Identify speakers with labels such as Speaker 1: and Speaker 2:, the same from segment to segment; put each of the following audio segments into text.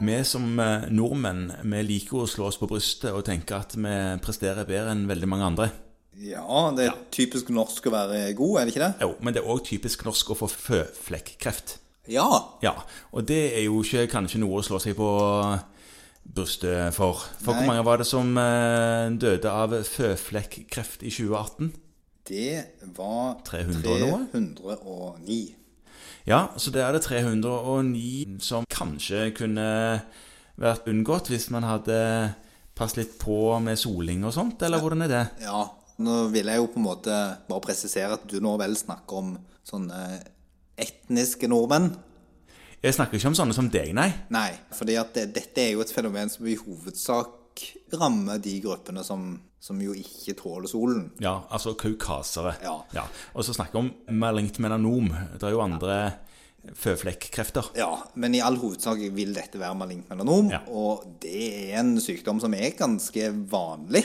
Speaker 1: Vi som eh, nordmenn vi liker å slå oss på brystet og tenke at vi presterer bedre enn veldig mange andre.
Speaker 2: Ja, det er typisk norsk å være god, er det ikke det?
Speaker 1: Jo, men det er òg typisk norsk å få føflekkreft.
Speaker 2: Ja.
Speaker 1: Ja, og det er jo ikke kanskje noe å slå seg på brystet for. For
Speaker 2: Nei.
Speaker 1: hvor mange var det som eh, døde av føflekkreft i 2018?
Speaker 2: Det var
Speaker 1: 300 og noe?
Speaker 2: 309.
Speaker 1: Ja, så det er det 309 som kanskje kunne vært unngått hvis man hadde passet litt på med soling og sånt, eller hvordan er det?
Speaker 2: Ja. Nå vil jeg jo på en måte bare presisere at du nå vel snakker om sånne etniske nordmenn.
Speaker 1: Jeg snakker ikke om sånne som deg, nei.
Speaker 2: Nei, fordi at det, dette er jo et fenomen som i hovedsak rammer de gruppene som, som jo ikke tåler solen.
Speaker 1: Ja, altså kaukasere.
Speaker 2: Ja.
Speaker 1: Og så snakker vi om malignt melanom. Det er jo andre føflekkrefter.
Speaker 2: Ja, men i all hovedsak vil dette være malignt melanom,
Speaker 1: Ja.
Speaker 2: og det er en sykdom som er ganske vanlig.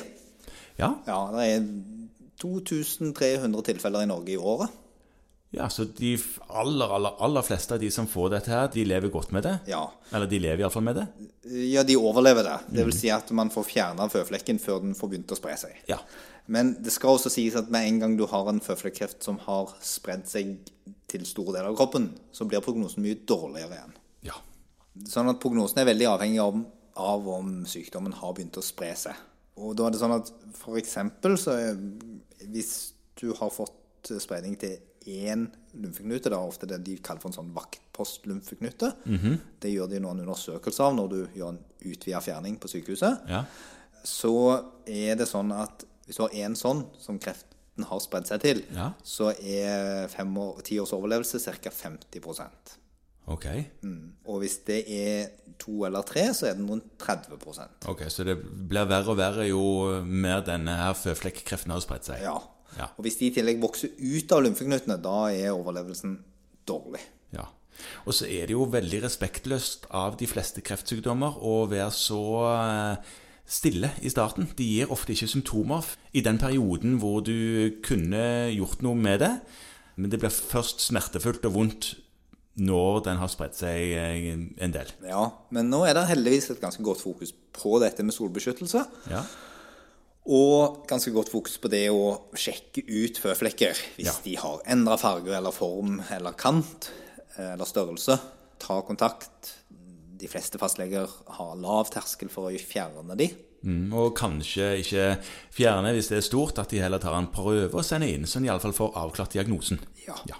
Speaker 1: Ja.
Speaker 2: Ja, det er 2300 tilfeller i Norge i året.
Speaker 1: ja, så de f- aller, aller, aller fleste av de som får dette her, de lever godt med det.
Speaker 2: Ja.
Speaker 1: Eller de lever iallfall med det.
Speaker 2: ja, de overlever det. Det vil si at man får fjerna føflekken før den får begynt å spre seg.
Speaker 1: Ja.
Speaker 2: Men det skal også sies at med en gang du har en føflekkreft som har spredd seg til store deler av kroppen, så blir prognosen mye dårligere igjen.
Speaker 1: Ja.
Speaker 2: Sånn at prognosen er veldig avhengig av, av om sykdommen har begynt å spre seg. Og da er det sånn at for eksempel så er- hvis du har fått spredning til én lymfeknute, det er ofte det de kaller for en sånn vaktpostlymfeknute, det gjør de noen undersøkelser av når du gjør en utvida fjerning på sykehuset,
Speaker 1: ja.
Speaker 2: så er det sånn at hvis du har én sånn som kreften har spredd seg til,
Speaker 1: Ja.
Speaker 2: så er fem år, ti års overlevelse ca. 50
Speaker 1: Ok.
Speaker 2: og hvis det er to eller tre, så er den rundt 30
Speaker 1: Ok, Så det blir verre og verre jo mer denne her føflekkreften har spredt seg.
Speaker 2: Ja.
Speaker 1: Ja.
Speaker 2: Og hvis de i tillegg vokser ut av lymfeknutene, da er overlevelsen dårlig.
Speaker 1: Ja. Og så er det jo veldig respektløst av de fleste kreftsykdommer å være så eh, stille i starten. De gir ofte ikke symptomer f- i den perioden hvor du kunne gjort noe med det. Men det blir først smertefullt og vondt når den har spredt seg eh, en del.
Speaker 2: Ja, Men nå er det heldigvis et ganske godt fokus på dette med solbeskyttelse.
Speaker 1: Ja.
Speaker 2: Og ganske godt fokus på det å sjekke ut føflekker hvis
Speaker 1: Ja.
Speaker 2: de har endra farge eller form eller kant eller størrelse. Ta kontakt. De fleste fastleger har lav terskel for å fjerne de.
Speaker 1: Mm, og kanskje ikke fjerne hvis det er stort, at de heller tar en prøve og sender inn, så en iallfall får avklart diagnosen.
Speaker 2: Ja.
Speaker 1: ja.